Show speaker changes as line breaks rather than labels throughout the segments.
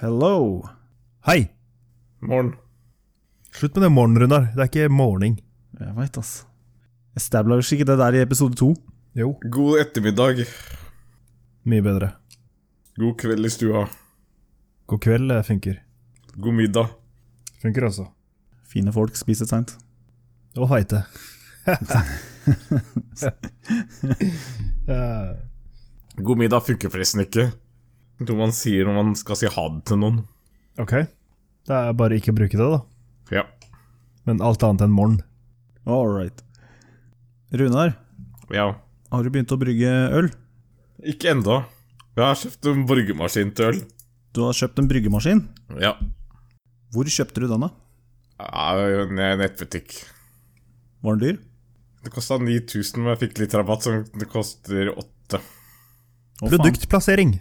Hello.
Hei!
Morgen.
Slutt med det morgen, Runar. Det er ikke morning.
Jeg veit, ass. Jeg stabla jo ikke det der i episode to.
Jo.
God ettermiddag.
Mye bedre.
God kveld i stua.
God kveld eh, funker.
God middag.
Funker altså.
Fine folk spiser seint.
Og feite. Eh,
God middag funker forresten ikke. Jeg tror man sier når man skal si ha det til noen.
ok. Det er bare ikke å bruke det, da.
Ja.
Men alt annet enn morgen.
All right. Runar,
ja.
har du begynt å brygge øl?
Ikke enda. Jeg har kjøpt en borgermaskin til øl.
Du har kjøpt en bryggemaskin.
Ja.
Hvor kjøpte du den, da?
Ja, en Nettbutikk.
Var den dyr?
Det kosta 9000, men jeg fikk litt rabatt, så det koster 8.
Å, faen.
Produktplassering!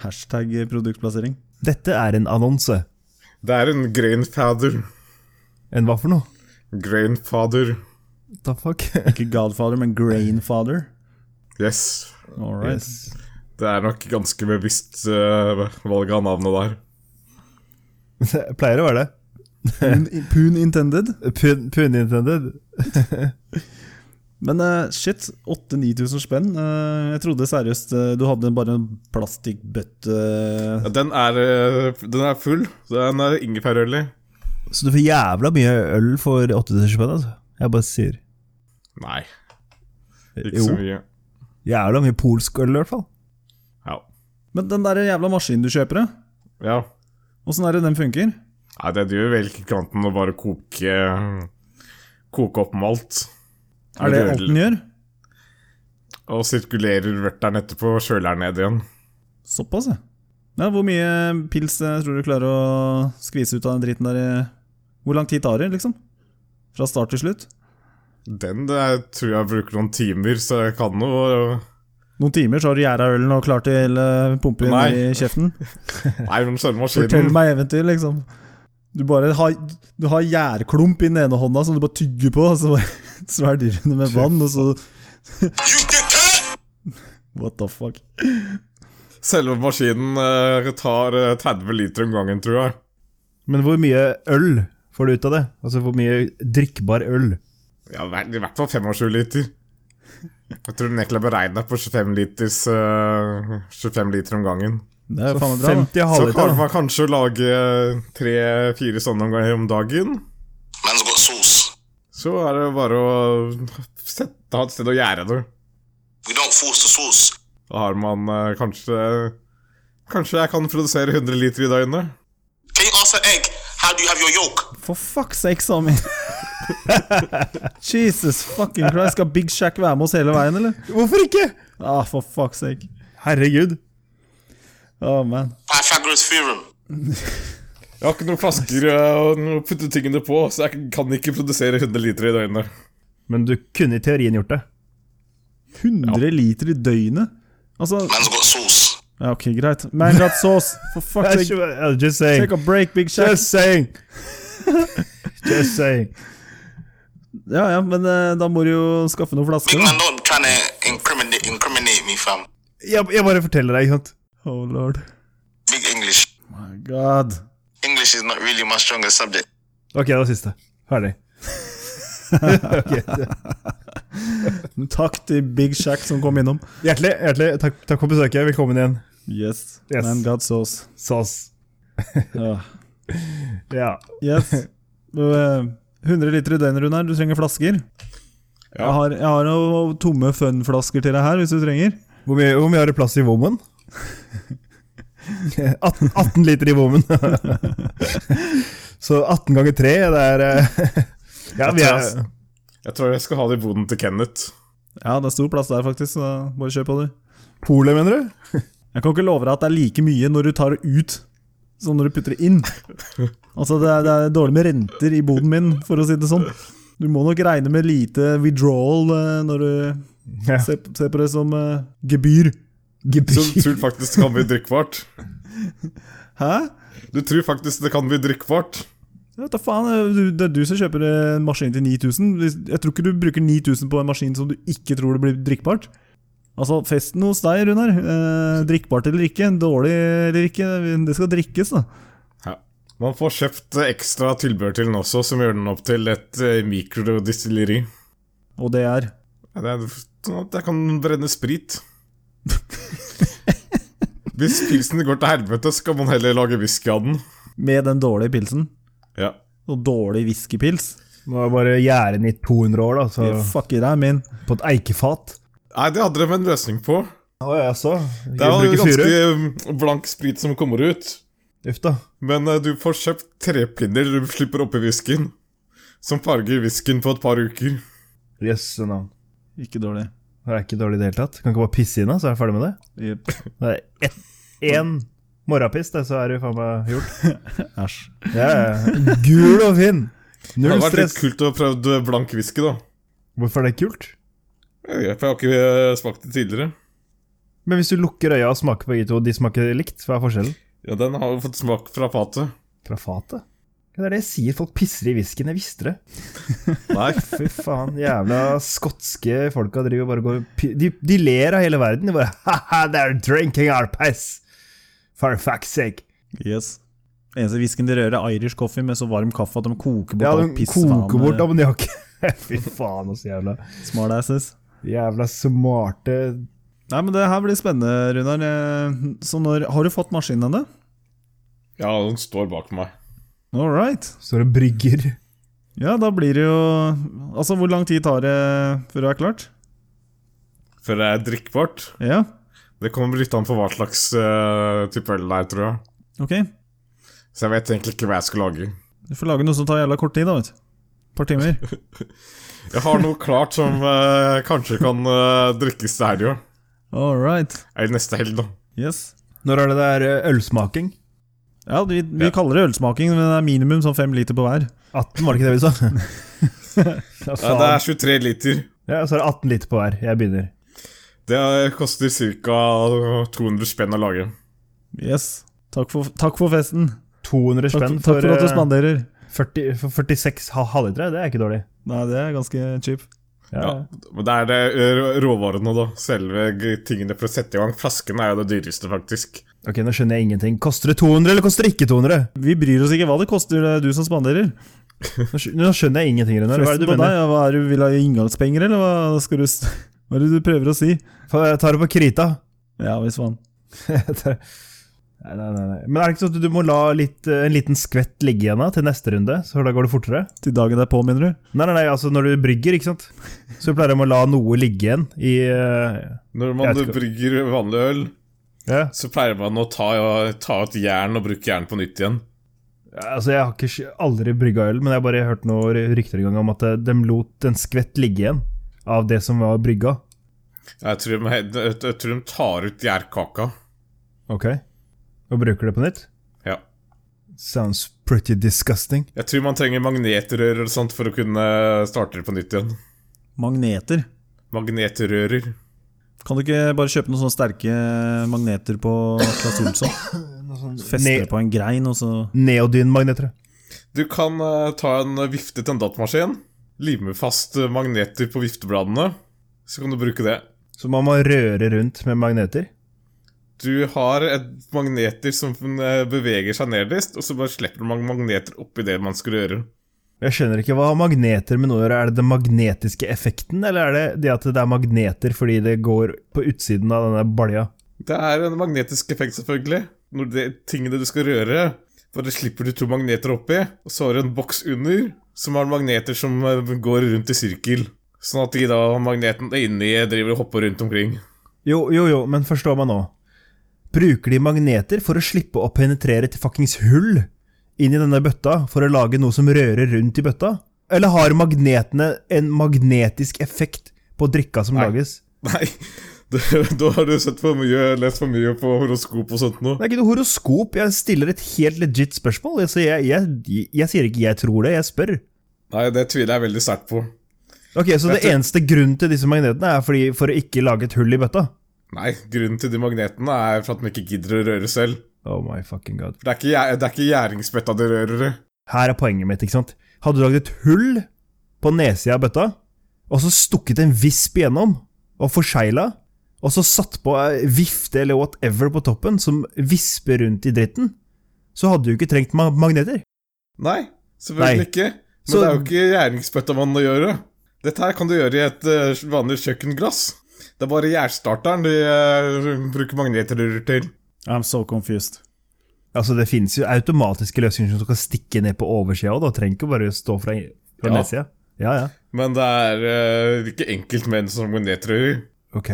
Hashtag produktplassering.
Dette er en annonse.
Det er en grainfather.
En hva for noe?
Grainfather.
The fuck?
Ikke Godfather, men Grainfather.
Yes.
All right.
Det er nok ganske bevisst uh, valg av navnet der.
Det pleier å være det.
Pun, pun intended.
Pun, pun intended.
Men eh, shit, 8000-9000 spenn. Eh, jeg trodde seriøst eh, du hadde bare en plastikkbøtte
Ja, Den er, eh, den er full. Den er ingefærøl i.
Så du får jævla mye øl for 8000 spenn, altså. Jeg bare sier.
Nei, ikke
Jo,
så mye.
jævla mye polsk øl, i hvert fall.
Ja.
Men den der jævla maskinen du kjøper, da?
ja.
åssen er det den funker?
Nei, det gjør vel ikke annet enn å bare koke Koke opp malt.
Er det alt den gjør?
Og sirkulerer vørteren etterpå og kjøler den ned igjen.
Såpass, ja. ja. Hvor mye pils eh, tror du klarer å skvise ut av den driten der i Hvor lang tid tar det, liksom? Fra start til slutt?
Den der, tror jeg bruker noen timer, så jeg kan noe
Noen timer, så har du gjæra ølen og klar til eh, pumpe inn i
Nei.
kjeften?
Nei, men selve
Fortell
maskinen
meg eventyr, liksom. Du bare har, du har gjærklump i den ene hånda som du bare tygger på, og så bare svær dyrene med vann, og så What the fuck?
Selve maskinen eh, tar eh, 30 liter om gangen, tror jeg.
Men hvor mye øl får du ut av det? Altså hvor mye drikkbar øl?
Ja, i hvert- I hvert fall 25 liter. Jeg tror den egentlig er beregna på 25, liters, eh, 25 liter om gangen.
Det er jo faen meg bra.
50
Så klarer
halvliter. da.
man kanskje å lage tre-fire sånne om gangen om dagen.
Man's got sauce.
Så er det bare å sette, ha et sted å gjære det.
We don't force the sauce.
Da har man eh, kanskje Kanskje jeg kan produsere 100 liter i døgnet.
Can you ask for egg? How do you have your yolk?
Da. For fuck's sake, Sami. Jesus fucking Christ. Skal Big Shack være med oss hele veien, eller?
Hvorfor ikke?
Ah, for fuck's sake.
Herregud.
Oh, man.
Pythagoras theorem.
Jeg har ikke noen flasker eh, og noe å putte tingene på, så jeg kan ikke produsere 100 liter i døgnet.
Men du kunne i teorien gjort det.
100 liter i døgnet? Altså
Man's got sauce.
ja, Ok, greit. Man got sauce. For fuck's sake.
Just saying.
Take a break, Big Shack.
Just saying. Just saying.
Ja, ja, men eh, da må du jo skaffe noen
Big
flasker.
man,
da.
don't trying to incriminate incriminate me, fam.
Jeg, jeg bare forteller deg, ikke sant.
Oh lord.
Big English.
My god.
English is not really my strongest subject.
Ok, det var siste. Ferdig. Ok.
Takk til Big Shack som kom innom.
Hjertelig, hjertelig takk, takk for besøket. Velkommen igjen.
Yes.
Yes.
Man got sauce.
SAS.
Ja.
Ja.
Yes. Du, eh, 100 liter i døgnet, Runar. Du trenger flasker.
Ja.
Jeg, har, jeg har noen tomme Fun-flasker til deg her, hvis du trenger.
Hvor mye, hvor mye har du plass i Woman? 18, 18 liter i Woman. Så 18 ganger 3, det er eh, Ja, vi er
Jeg tror jeg skal ha det i boden til Kenneth.
Ja, det er stor plass der, faktisk. Så bare kjør på, du.
Polet, mener du?
Jeg kan ikke love deg at det er like mye når du tar det ut, som når du putter det inn. Altså, det er, det er dårlig med renter i boden min, for å si det sånn. Du må nok regne med lite withdrawal eh, når du
Ja.
ser, ser på det som eh, gebyr.
Så du tror faktisk det kan bli drikkbart.
Hæ?
Du tror faktisk det kan bli drikkbart.
Jeg vet da faen, eh, du- det er du som kjøper en maskin til 9000. Hvis- Jeg tror ikke du bruker 9000 på en maskin som du ikke tror det blir drikkbart. Altså, festen hos deg, Runar, eh, drikkbart eller ikke, dårlig eller ikke, det skal drikkes, da.
Ja. Man får kjøpt eh, ekstra tilbehør til den også, som gjør den opp til et eh, mikrodistilleri.
Og det er
Ja, det er sånn at jeg kan brenne sprit. Hvis pilsen går til helvete, så kan man heller lage whisky av den.
med den dårlige pilsen.
Ja.
Og dårlig whiskypils.
Nå er bare gjæren i 200 år, da, så
Fucker deg, min.
på et eikefat.
Nei, det hadde de en løsning på.
Å, ja, så.
Det er jo
Bruke
ganske
furu.
eh, blank sprit som kommer ut.
Uff, da.
Men eh, du får kjøpt trepinner du slipper oppi whiskyen. Som farger whiskyen på et par uker.
Jøsse navn.
Ikke dårlig.
Det er ikke dårlig i det hele tatt. Kan ikke bare pisse inn, da, så er jeg ferdig med det.
Jep.
Det er ett, én morgenpiss, det, så er det faen meg gjort.
Æsj.
Ja, ja. Gul og fin!
Det
Null
hadde vært litt
stress.
kult å prøve blank whisky, da.
Hvorfor er det kult?
Jeg vet, for jeg har ikke eh, smakt det tidligere.
Men hvis du lukker øya og smaker begge to, de smaker likt, hva er forskjellen?
Ja, Den har jo fått smak fra fatet.
Fra fatet? Ja, Det er det jeg sier, folk pisser i whiskyen, jeg visste det.
Nei,
Fy faen, jævla skotske folka driver bare og går pi- de, de ler av hele verden, de bare Haha, they're drinking our piss! For fuck's sake!
Yes. Eneste whiskyen de rører, er Irish coffee med så varm kaffe at de koker bort
Ja,
all
de
piss.
koker
faen,
bort
eh,
ammoniakk. Fy faen, så jævla
Smartasses.
Jævla smarte
Nei, men det her blir spennende, Runar. Eh, Så når Har du fått maskinen ennå?
ja, den står bak meg.
All right.
Står og brygger.
Ja, da blir det jo Altså, hvor lang tid tar det før det er klart?
For det er drikkbart.
Ja,
Det kommer litt an på hva slags eh, type øl det er, tror jeg.
ok.
Så jeg vet egentlig ikke hva jeg skal lage.
Du får lage noe som tar jævla kort tid, da, vet du. Et par timer.
Jeg har noe klart som eh, kanskje kan eh, drikkes til helga.
All right.
Eller neste helg, da.
Yes.
Når er det der eh, ølsmaking?
Ja, vi, vi
Ja.
kaller det ølsmaking, men det er minimum sånn fem liter på hver.
18, var det ikke det vi sa? ja,
Ja, det
faen.
er 23 liter.
ja, så er det 18 liter på hver. Jeg begynner.
Det koster ca. 200 spenn å lage.
Yes. Takk for, takk for festen.
200
Takk,
spenn
takk for at du
eh,
spanderer.
40, for 46 ha- halvlitere, det er ikke dårlig.
Nei, det er ganske cheap.
Ja.
Ja. Men det er det eh, råvarene, da. Selve g- tingene for å sette i gang. Flaskene er jo det dyreste, faktisk.
Ok, nå skjønner jeg ingenting. Koster det 200, eller koster det ikke 200?
Vi bryr oss ikke hva det koster, det er du som spanderer.
Nå skj- Nå skjønner jeg ingenting, Runar. Hva er
Festen
det du
på deg,
mener?
ja, hva er det du vil ha inngangspenger, eller hva skal du s- Hva er det du prøver å si?
Fa- Jeg tar det på krita.
Ja visst faen.
Jeg tar- nei, nei, nei, nei. Men er det ikke sånn at du må la litt, eh, en liten skvett ligge igjen da, til neste runde, så da går det fortere?
Til dagen derpå, mener du?
Nei, nei, nei, altså når du brygger, ikke sant? Så pleier de å la noe ligge igjen i eh,
Når
Jeg
man
vet ikke.
brygger vanlig øl,
ja.
så pleier man å ta, ta ut jern og bruke jern på nytt igjen.
Altså, jeg har ikke sk- aldri brygga øl, men jeg har bare hørt noen rykter i gang om at eh, de lot en skvett ligge igjen av det som var brygga.
Jeg tror de, jeg, jeg tror de tar ut gjærkaka.
Ok. Og bruker det på nytt?
Ja.
Sounds pretty disgusting.
Jeg tror man trenger magnetrører og sånt for å kunne starte det på nytt igjen.
Magneter.
Magnetrører.
Kan du ikke bare kjøpe noen sånne sterke magneter på Claes Olsson? Så Feste
Ne-
det på en grein, og så
Neodynmagneter.
Du kan eh, ta en vifte til en datamaskin, lime fast eh, magneter på viftebladene, så kan du bruke det.
Så man må røre rundt med magneter.
Du har et magneter som eh, beveger seg nederst, og så bare slipper man magneter oppi det man skulle gjøre.
Jeg skjønner ikke, hva har magneter med noe å gjøre? Er det den magnetiske effekten, eller er det det at det er magneter fordi det går på utsiden av denne balja?
Det er en magnetisk effekt, selvfølgelig. Når det tingene du skal røre, bare slipper du to magneter oppi, og så har du en boks under som har magneter som eh, går rundt i sirkel. Sånn at de da magneten inni driver og hopper rundt omkring.
Jo, jo, jo, men forstå meg nå. Bruker de magneter for å slippe å penetrere til fuckings hull inn i denne bøtta for å lage noe som rører rundt i bøtta? Eller har magnetene en magnetisk effekt på drikka som lages?
Nei, det, da har du sett for mye, lest for mye på horoskop og sånt nå.
Det er ikke noe horoskop. Jeg stiller et helt legit spørsmål. Altså, jeg, jeg, jeg sier ikke 'jeg tror det', jeg spør.
Nei, det tviler jeg veldig sterkt på.
Ok, Så det
tror-
eneste grunnen til disse magnetene er fordi, for å ikke lage et hull i bøtta?
Nei, grunnen til de magnetene er for at de ikke gidder å røre selv.
Oh my fucking god.
For det er ikke, gjæ- det er ikke gjæringsbøtta de rører i.
Her er poenget mitt, ikke sant. Hadde du lagd et hull på nedsida av bøtta, og så stukket en visp igjennom og forsegla, og så satt på ei vifte eller whatever på toppen som visper rundt i dritten, så hadde du ikke trengt ma magneter.
Nei, selvfølgelig
Nei.
ikke. Men
Så-
det er jo ikke gjæringsbøttamannen å gjøre. Dette her kan du gjøre i et eh, vanlig kjøkkenglass. Det er bare gjærstarteren de eh, bruker magnetrører til.
I'm so confused.
Altså, det finnes jo automatiske løsninger som kan stikke ned på oversida, og da trenger ikke bare stå fra, fra
Ja.
nedsida. Ja, ja.
Men det er eh, ikke enkelt med en sånn magnetrører.
Ok.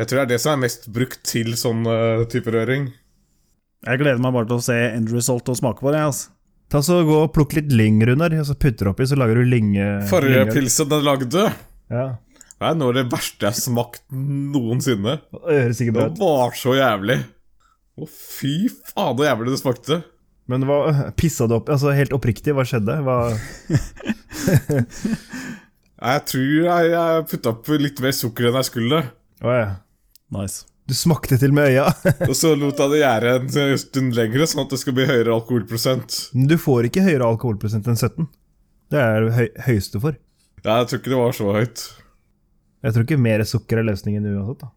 Jeg tror det er det som er mest brukt til sånn eh, type røring.
Jeg gleder meg bare til å se end result og smake på det. altså. ass.
Ta så Gå og plukk litt lyng, Runar, og så putter du oppi, så lager du lynge...
Forrige
lyngøl.
pilsen den lagde,
Ja.
det er noe av det verste jeg har smakt noensinne.
Og Det høres ikke
Det
bra ut.
var så jævlig. Å, fy faen, så jævlig det smakte.
Men hva Pissa du opp Altså, helt oppriktig, hva skjedde? Hva
Nei, Jeg tror jeg, jeg putta opp litt mer sukker enn jeg skulle.
Å ja.
Nice.
Du smakte til med øya.
Og så lot jeg det gjære en stund lengre, sånn at det skal bli høyere alkoholprosent.
Men Du får ikke høyere alkoholprosent enn 17. Det er det høy høyeste for.
Ja, jeg tror ikke det var så høyt.
Jeg tror ikke mer sukker er løsningen uansett. da.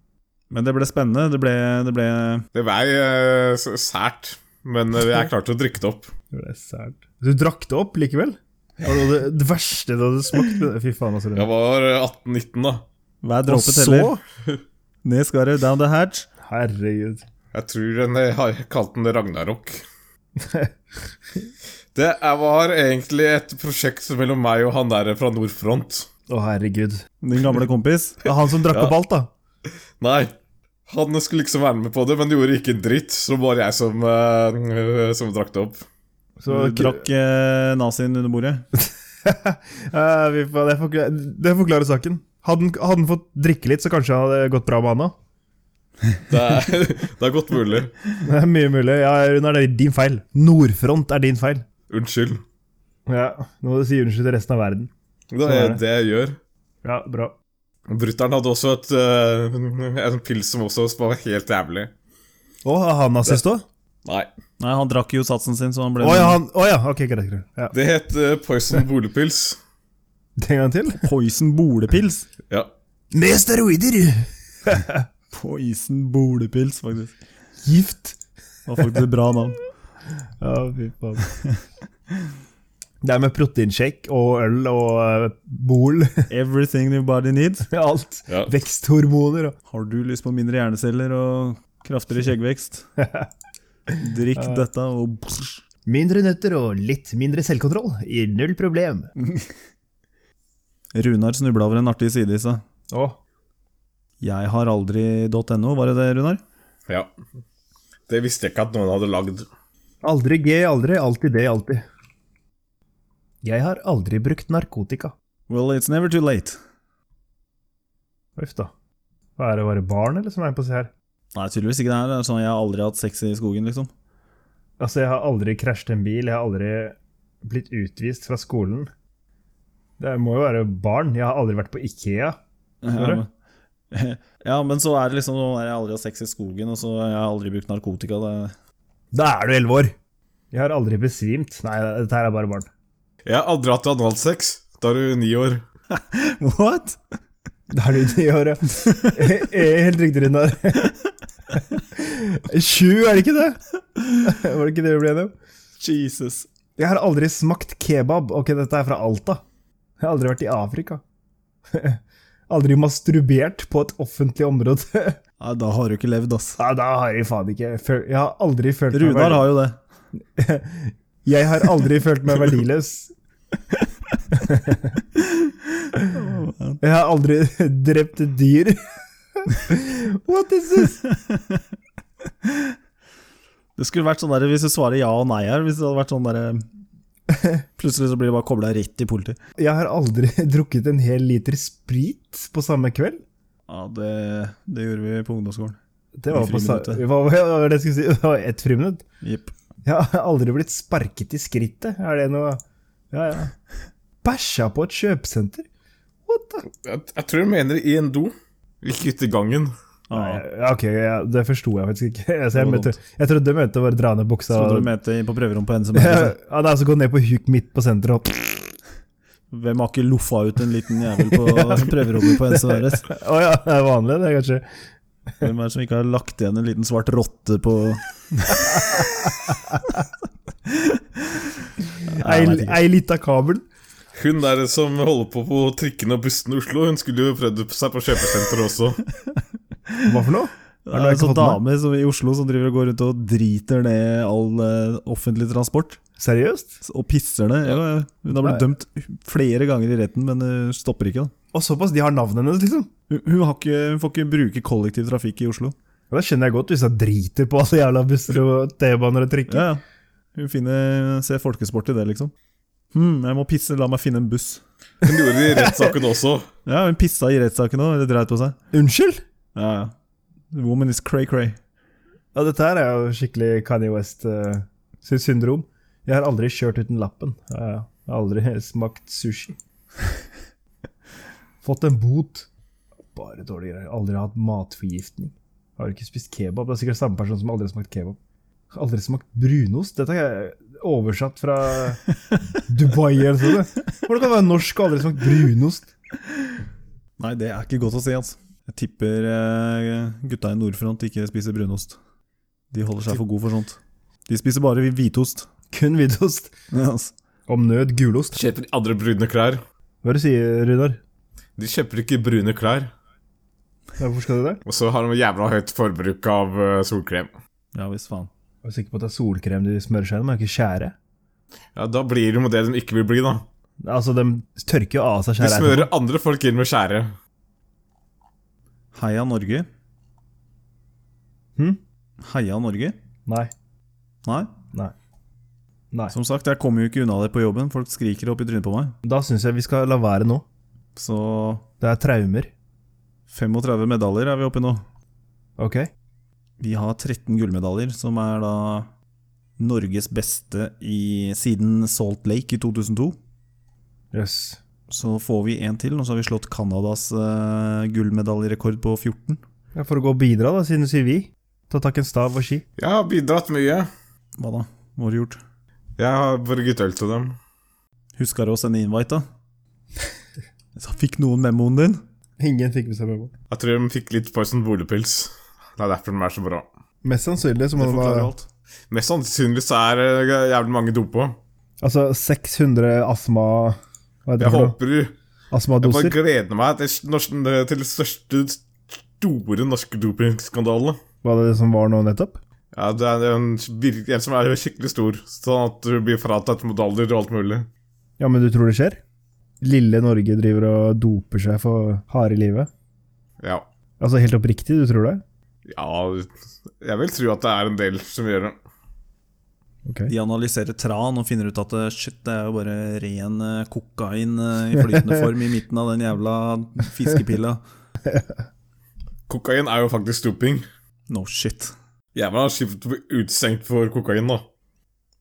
Men det ble spennende. Det ble, det ble
Det var eh, s- sært, men eh, jeg klarte å drikke det opp.
Det er sært. Du drakk det opp likevel? Det var det, det verste du hadde smakt. Fy faen, altså.
Jeg var eh, 18-19 da.
hver
Og
dråpe teller.
så
Ned skal du, down the hatch.
Herregud.
Jeg tror den jeg har kalt den Ragnarok. Det er- var egentlig et prosjekt mellom meg og han der fra Nordfront.
Å, herregud.
Din gamle kompis.
Det er han som drakk
Ja.
opp alt, da.
Nei. Han skulle liksom være med på det, men det gjorde ikke en dritt. Så det var jeg som, eh, som drakk det opp.
Du
Så
drakk eh, nazien under bordet.
Ja, fy faen, Eh, det, forklarer, det forklarer saken. Hadde han, hadde han fått drikke litt, så kanskje han hadde gått bra med han òg.
Det er, det er godt mulig.
Det er mye mulig. Ja, Runar, det er din feil. Nordfront er din feil.
Unnskyld.
Ja, Nå må du si unnskyld til resten av verden.
Det
Sånn er
er
det.
det jeg gjør.
Ja, bra.
Brutter'n hadde også et, eh, en pils som også var helt jævlig.
Å, har han nazist òg?
Nei.
Nei, han drakk jo satsen sin, så han ble
Å ja, han, å ja, ok, greit. greit. Ja.
Det het eh, Poison boligpils.
En gang til?
Poison bolepils.
Ja.
Med steroider!
Poison bolepils, faktisk.
Gift.
Det var faktisk et bra navn.
Ja, fy faen. Det er med proteinshake og øl og eh, bol.
Everything your body needs.
Alt.
Ja.
Veksthormoner og
Har du lyst på mindre hjerneceller og kraftigere skjeggvekst? Drikk dette og
Mindre nøtter og litt mindre selvkontroll. I null problem.
Runar snubla over en artig side i seg.
Å,
Jeg har aldri.no, var det det, Runar?
ja. Det visste jeg ikke at noen hadde lagd.
Aldri G, aldri. Alltid det, alltid. Jeg har aldri brukt narkotika.
Well, it's never too late.
Uff da. Hva er det, bare barn eller som er på å se her?
Nei, tydeligvis ikke det her. Det er sånn jeg har aldri hatt sex i skogen, liksom.
Altså, jeg har aldri krasjet en bil, jeg har aldri blitt utvist fra skolen. Det må jo være barn. Jeg har aldri vært på Ikea.
Ja, men, ja, men så er det liksom sånn der, jeg har aldri hatt sex i skogen, og så har jeg aldri brukt narkotika. Det,
Da er du elleve år! Jeg har aldri besvimt. Nei, dette her er bare barn.
Jeg har aldri hatt analsex. Da er du ni år.
What?
Da er du ni år, ja. Eh, eh, Helt riktig, Runar. Sju, er det ikke det? Var det ikke det vi ble enige om?
Jesus.
Jeg har aldri smakt kebab. Ok, dette er fra Alta. Jeg har aldri vært i Afrika. aldri masturbert på et offentlig område.
Nei, da har du ikke levd, ass.
Nei, da har jeg faen ikke føl- Jeg har aldri følt
Runar
meg
har jo det.
Jeg har aldri følt meg verdiløs. jeg har aldri drept et dyr. What is this?
Det skulle vært sånn der, Hvis du svarer ja og nei her Hvis det hadde vært sånn der eh, Plutselig så blir det bare kobla rett i politiet.
Jeg har aldri drukket en hel liter sprit på samme kveld.
Ja, det, det gjorde vi på ungdomsskolen.
Det var
I
på sa-
friminuttet.
Hva hva var det jeg skulle si? Det var ett friminutt.
Jepp.
Jeg har aldri blitt sparket i skrittet. Er det noe Ja, ja. Bæsja på et kjøpesenter? What the
Jeg, jeg tror jeg mener i en do. Ikke ute i gangen.
Ja,
Ja, Ok, ja, det forsto jeg faktisk ikke. Altså, jeg,
var
mente, jeg trodde du mente bare dra ned buksa
Trodde
og
du mente på prøverommet på liksom? NSM.
ja, ja, nei, så gå ned på huk midt på senteret og
Hvem har ikke loffa ut en liten jævel på prøverommet på NSM?
Å ja, det er vanlig, det, kanskje.
Hvem er det som ikke har lagt igjen en liten svart rotte på Nei, jeg vet
Ei,
ikke.
ei lita kabel.
Hun der som holder på på trikkene og bussene i Oslo, hun skulle jo prøvd seg på kjøpesenteret også.
Hva for noe?
Det er
Er det noe
en
jeg ikke
sånn
har fått med?
dame som, i Oslo som driver og går rundt og driter ned all eh, offentlig transport.
Seriøst?
Og pisser ned. Ja, ja. Hun har blitt dømt flere ganger i retten, men eh, stopper ikke. da
Og såpass, de har navnet hennes, liksom.
Hun, hun, har ikke, hun får ikke bruke kollektivtrafikk i Oslo.
Ja, det skjønner jeg godt, hvis jeg driter på alle jævla busser og T-baner og trikker.
Ja, ja. Hun finner, ser folkesport i det, liksom. Hm, jeg må pisse, la meg finne en buss.
Hun gjorde det i rettssaken også.
Ja, hun pissa i rettssaken òg, eller dreit på seg.
Unnskyld?
Ja, ja. The woman is cray-cray.
Ja, dette her er jo skikkelig Kanye West eh, sitt syndrom. Jeg har aldri kjørt uten lappen. Ja, ja. Jeg har aldri smakt sushi. Fått en bot. Bare dårlige greier. Aldri hatt matforgiftning. Har ikke spist kebab. Det er sikkert samme person som aldri har smakt kebab. Har Aldri smakt brunost. Dette er oversatt fra Dubai eller noe sånt. Hvordan kan du være norsk og aldri smakt brunost?
Nei, det er ikke godt å si, altså. Jeg tipper eh, gutta i nordfront ikke spiser brunost. De holder seg for gode for sånt. De spiser bare hvitost.
Kun hvitost.
Ja, altså.
Om nød gulost.
Kjøper andre brune klær.
Hva er det du sier, Runar?
De kjøper ikke brune klær.
Hvorfor skal du det?
Og så har de jævla høyt forbruk av eh, solkrem.
ja visst faen.
Jeg er sikker på at det er solkrem de smører seg gjennom, ikke skjære.
Ja, Da blir de jo det de ikke vil bli, da.
Altså, de tørker jo av seg
De
skjæret.
smører andre folk inn med skjære.
Heia Norge.
Hm?
Heia Norge?
Nei.
Nei.
Nei. Nei.
Som sagt, jeg kommer jo ikke unna det på jobben. Folk skriker opp i trynet på meg.
Da syns jeg vi skal la være nå.
Så
Det er traumer.
35 medaljer er vi oppe i nå.
Ok?
Vi har 13 gullmedaljer, som er da Norges beste i, siden Salt Lake i 2002.
Jøss. Yes.
Så får vi en til, og så har vi slått Canadas eh, gullmedaljerekord på 14.
Ja, for å gå og bidra, da, siden du sier vi. Ta takk en stav og ski.
Jeg har bidratt mye.
Hva da? Hva har du gjort?
Jeg har brygget øl til dem.
Husker du å sende invite, da? Så fikk noen memoen din?
Ingen fikk med seg med på.
Jeg tror de fikk litt Poison boligpils. Det er derfor de er så bra.
Mest sannsynlig så må
Det
det
forklarer
være
alt.
Mest sannsynlig så er det jævlig mange dopa.
Altså 600 astma... Hva heter det
Jeg
for noe?
håper Jeg bare
Astmadoser.
gleder meg til, norsk, til den største store norske dopingskandalen.
Var det det som var nå nettopp?
Ja, det er en, vir- en som er skikkelig stor, sånn at du blir fratatt medaljer og alt mulig.
Ja, men du tror det skjer? Lille Norge driver og doper seg for harde livet.
Ja.
Altså helt oppriktig, du tror det?
ja Jeg vil tro at det er en del som gjør det.
Ok.
De analyserer tran og finner ut at eh, shit, det er jo bare ren eh, kokain eh, i flytende form i midten av den jævla fiskepila.
Kokain er jo faktisk doping.
No shit.
Jævla kjipt å bli utestengt for kokain, da.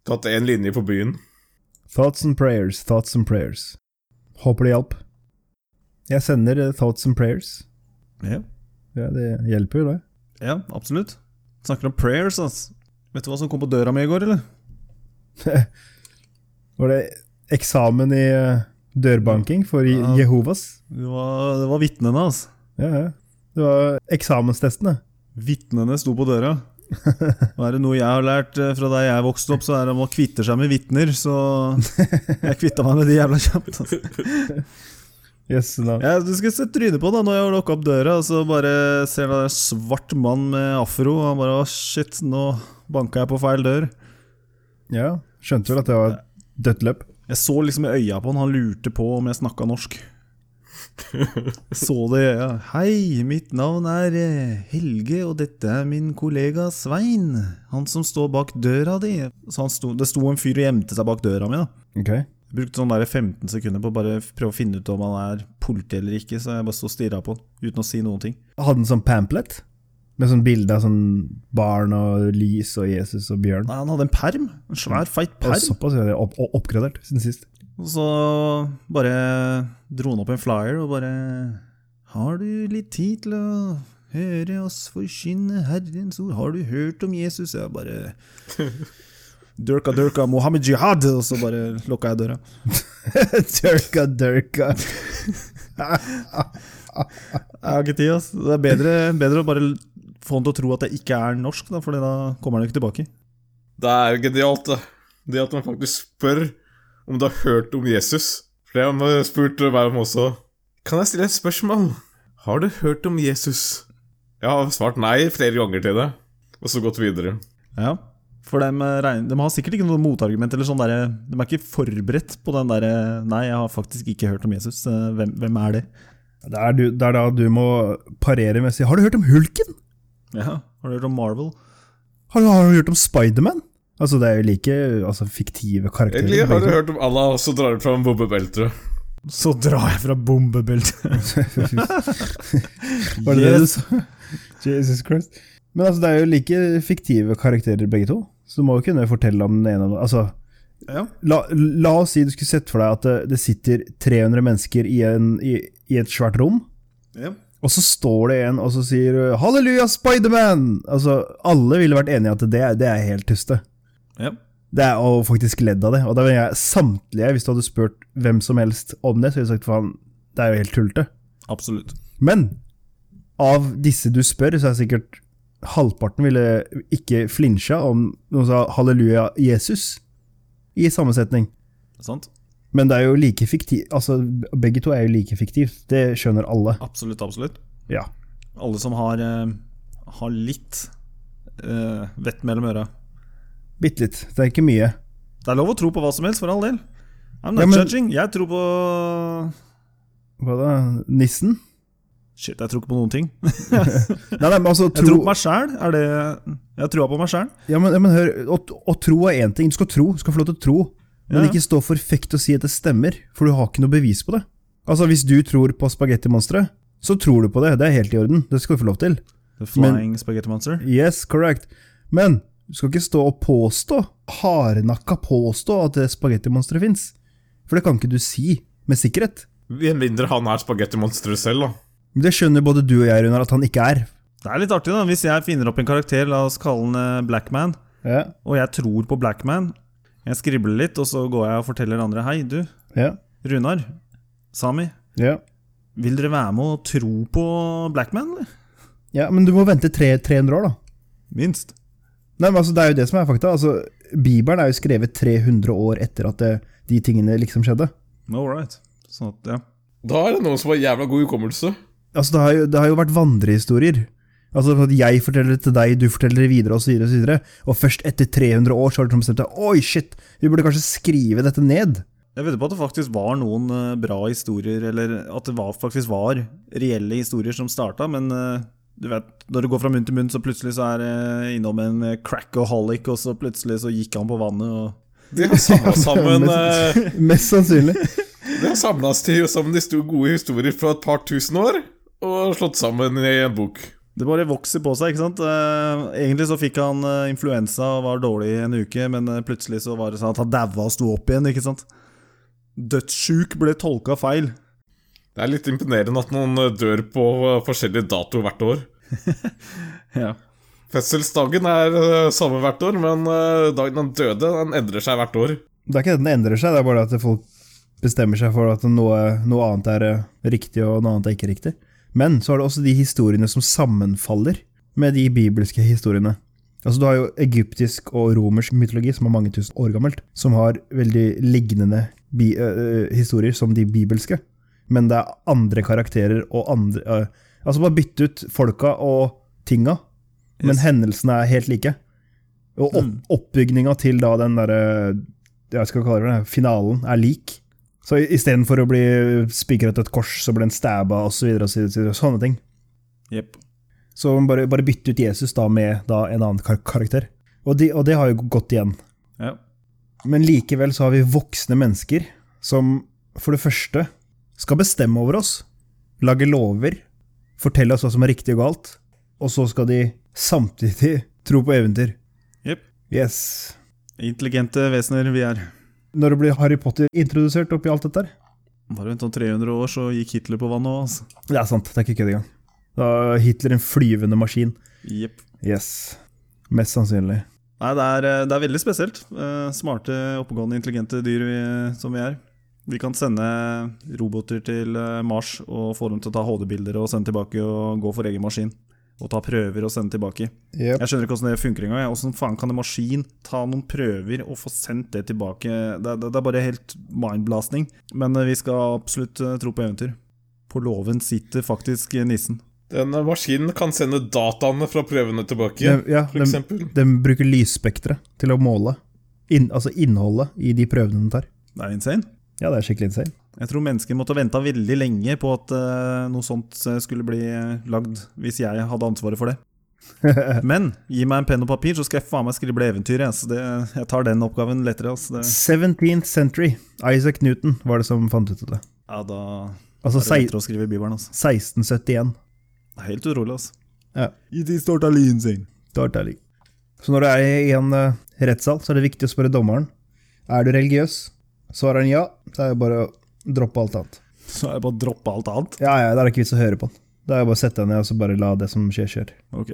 Tatt én linje på byen.
Thoughts and prayers, thoughts and prayers. Håper det hjalp. Jeg sender eh, thoughts and prayers.
Ja.
Ja, det hjelper jo, det.
Ja, absolutt. Snakker om prayers, ass. Vet du hva som kom på døra mi i går, eller?
Var det eksamen i eh, dørbanking for Je-
Ja.
Jehovas?
Det var, det var vitnene, ass.
Ja, ja. Det var eksamenstestene.
Vitnene sto på døra. Og er det noe jeg har lært eh, fra da jeg vokste opp, så er det om å kvitte seg med vitner, så jeg kvitta meg med de jævla kjapt. ass.
Yes, no.
Ja, du skulle sett trynet på da når jeg lukka opp døra, og så bare ser du en svart mann med afro, og han bare å shit, nå banka jeg på feil dør.
ja. Skjønte vel at det var et dødt løp.
Jeg så liksom i øya på han, han lurte på om jeg snakka norsk. Jeg så det i øya. Hei, mitt navn er eh, Helge, og dette er min kollega Svein. Han som står bak døra di. Så han sto, det sto en fyr og gjemte seg bak døra mi, da.
Ok.
Jeg brukte sånn der 15 sekunder på å bare prøve å finne ut om han er politi eller ikke, så jeg bare sto og stirra på han uten å si noen ting.
Hadde den sånn pamphlet? Med sånn bilde av sånn barn og lys og Jesus og bjørn.
Nei, han hadde en perm. En svær, feit
Og
perm.
såpass er det opp og oppgradert siden sist.
Og så bare dro han opp en flyer og bare Har du litt tid til å høre oss forkynne Herrens ord? Har du hørt om Jesus? Jeg bare Durka, durka, Mohammed jihad! Og så bare lukka jeg døra.
Dørka, dørka.
Jeg har ikke tid, ass. Det er bedre, bedre å bare få han til å tro at det ikke er norsk, da, for da kommer han jo ikke tilbake.
Det er jo genialt, det. Det at man faktisk spør om du har hørt om Jesus. For det har man spurt meg om også. Kan jeg stille et spørsmål? Har du hørt om Jesus? Jeg har svart nei flere ganger til det, og så gått videre.
Ja, for de, regner, de har sikkert ikke noe motargument. eller sånn der, De er ikke forberedt på den derre 'nei, jeg har faktisk ikke hørt om Jesus'. Eh, Hvem, hvem er det?
Det er, du, det er da du må parere med å si Har du hørt om Hulken?
Ja, Har du hørt om Marvel?
Har du, har du hørt om Spiderman? Altså, det er jo like altså, fiktive karakterer.
Egentlig har du
begge
hørt om Allah, og så drar du fram bobbebeltet.
Så drar jeg fra bombebeltet.
to. Var det det du sa? Jesus Christ. Men altså, det er jo like fiktive karakterer, begge to. Så du må jo kunne fortelle om den ene og den Altså,
Ja.
la, la oss si du skulle sett for deg at det, det sitter 300 mennesker i, en, i, i et svært rom.
Ja.
Og så står det en og så sier uh, 'Halleluja, Spiderman!' Altså, alle ville vært enige i at det, er- det er helt tuste.
Ja.
Det er og faktisk ledd av det. Og da ville jeg samtlige, hvis du hadde spurt hvem som helst om det, så ville jeg sagt faen, det er jo helt tullete.
Absolutt.
Men av disse du spør, så er sikkert halvparten ville ikke flinsja om noen sa 'halleluja, Jesus' i samme setning.
Sant?
Men det er jo like fiktivt. Altså, begge to er jo like fiktivt. Det skjønner alle.
Absolutt, absolutt.
Ja.
Alle som har, eh, har litt eh, vett mellom øra.
Bitte litt. Det er ikke mye.
Det er lov å tro på hva som helst, for all del. I'm not
Ja, men-
judging. Jeg tror på
Hva da? Nissen?
Shit, jeg tror ikke på noen ting.
Nei, nei, men altså,
Jeg tror
tro,
på meg sjæl. Er det Jeg tror på meg sjæl.
ja, men, ja, men hør, å, å tro er én ting. Du skal tro, du skal få lov til å tro. Men
Ja.
ikke stå for fekt og si at det stemmer, for du har ikke noe bevis på det. Altså, Hvis du tror på spagettimonstre, så tror du på det. Det er helt i orden. Det skal du få lov til.
The Flying Spaghetti Monster.
Yes, correct. Men du skal ikke stå og påstå, hardnakka påstå, at det spagettimonsteret fins. For det kan ikke du si med sikkerhet.
Med mindre han er spagettimonsteret selv, da.
Men det skjønner både du og jeg, Runar, at han ikke er.
Det er litt artig, da. Hvis jeg finner opp en karakter, la oss kalle den eh, Blackman,
Ja,
og jeg tror på Blackman Jeg skribler litt, og så går jeg og forteller andre Hei, du,
ja,
Runar, Sami,
ja.
vil dere være med og tro på Blackman, eller?
Ja, men du må vente tre, 300 år, da.
Minst.
Nei, men altså, Det er jo det som er fakta. Altså, Bibelen er jo skrevet 300 år etter at det, de tingene liksom skjedde.
All right. Sånn at, ja.
Da er det noen som har jævla god hukommelse.
Altså, Det har jo, det har jo vært vandrehistorier. Altså, at Jeg forteller det til deg, du forteller det videre, osv. Og, så videre, og først etter 300 år så har du bestemt deg Oi, shit! Vi burde kanskje skrive dette ned.
Jeg vedder på at det faktisk var noen eh, bra historier, eller at det var, faktisk var reelle historier som starta, men eh, du vet, når det går fra munn til munn, så plutselig så er det innom en eh, crackaholic, og så plutselig så gikk han på vannet og
De har samla sammen eh,
Mest sannsynlig.
De har samla sammen de sto- gode historier fra et par tusen år og slått sammen i en bok.
Det bare vokser på seg, ikke sant? Eh, Egentlig så fikk han eh, influensa og var dårlig i en uke, men eh, plutselig så var det sånn at han daua og sto opp igjen, ikke sant? Dødssjuk ble tolka feil.
Det er litt imponerende at noen eh, dør på eh, forskjellige datoer hvert år.
Ja.
Fødselsdagen er eh, samme hvert år, men eh, dagen han døde, den endrer seg hvert år.
Det er ikke det at den endrer seg, det er bare at folk bestemmer seg for at noe, noe annet er eh, riktig, og noe annet er ikke riktig. Men så er det også de historiene som sammenfaller med de bibelske historiene. Altså Du har jo egyptisk og romersk mytologi, som er mange tusen år gammelt, som har veldig lignende bi eh, eh, historier som de bibelske. Men det er andre karakterer og andre eh, Altså bare bytte ut folka og tinga, men hendelsene er helt like. Og opp, oppbygninga til da den eh, derre jeg skal kalle det, finalen er lik. Så i- istedenfor å bli spikret et kors, så ble den stabba osv. Så videre, og så videre, og sånne ting.
Jepp.
Så man bare, bare bytte ut Jesus da med da en annen kar karakter. Og, de, og det har jo gått igjen.
Ja.
Men likevel så har vi voksne mennesker som for det første skal bestemme over oss, lage lover, fortelle oss hva som er riktig og galt, og så skal de samtidig tro på eventyr.
Jepp.
Yes.
Intelligente vesener vi er.
Når det blir Harry Potter introdusert oppi alt dette her?
Bare vent om 300 år, så gikk Hitler på vannet òg, altså.
Det er sant, det er ikke kødd engang. Da er Hitler en flyvende maskin.
Jepp.
Yes. Mest sannsynlig.
Nei, det er, eh, det er veldig spesielt. Eh, Smarte, oppegående, intelligente dyr vi, eh, som vi er. Vi kan sende eh, roboter til eh, Mars og få dem til å ta HD-bilder og sende tilbake og gå for egen maskin. og ta prøver og sende tilbake.
Yep.
Jeg skjønner ikke hvordan det funker engang. jeg. Hvordan faen kan en maskin ta noen prøver og få sendt det tilbake? Det, det, det er bare helt mindblasting. Men eh, vi skal absolutt eh, tro på eventyr. På låven sitter faktisk nissen.
Den eh, maskinen kan sende dataene fra prøvene tilbake,
Ja, ja,
for
den-
eksempel.
De bruker lysspektre til å måle inn, altså innholdet i de prøvene de tar.
Det er insane.
Ja, det er skikkelig insane.
Jeg tror mennesker måtte ha venta veldig lenge på at eh, noe sånt eh, skulle bli eh, lagd, hvis jeg hadde ansvaret for det. Men gi meg en penn og papir, så skal jeg faen meg skrible eventyr. Jeg, så det, jeg tar den oppgaven lettere. Altså det,
17th century. Isaac Newton var det som fant ut av det.
ja, da
Altså
er det
sei-
lettere å skrive i Bibelen. Altså.
1671.
Det er helt utrolig, altså.
Ja.
It is totally insane.
Det var deilig. Så når du er i en eh, rettssal, så er det viktig å spørre dommeren. Er du religiøs? Svarer han ja, så er det bare å droppe alt annet.
Så er det bare å droppe alt annet.
Ja, ja, det er ikke vits å høre på han. Da er det bare å sette deg ned og så bare la det som skjer, skjer.
Ok.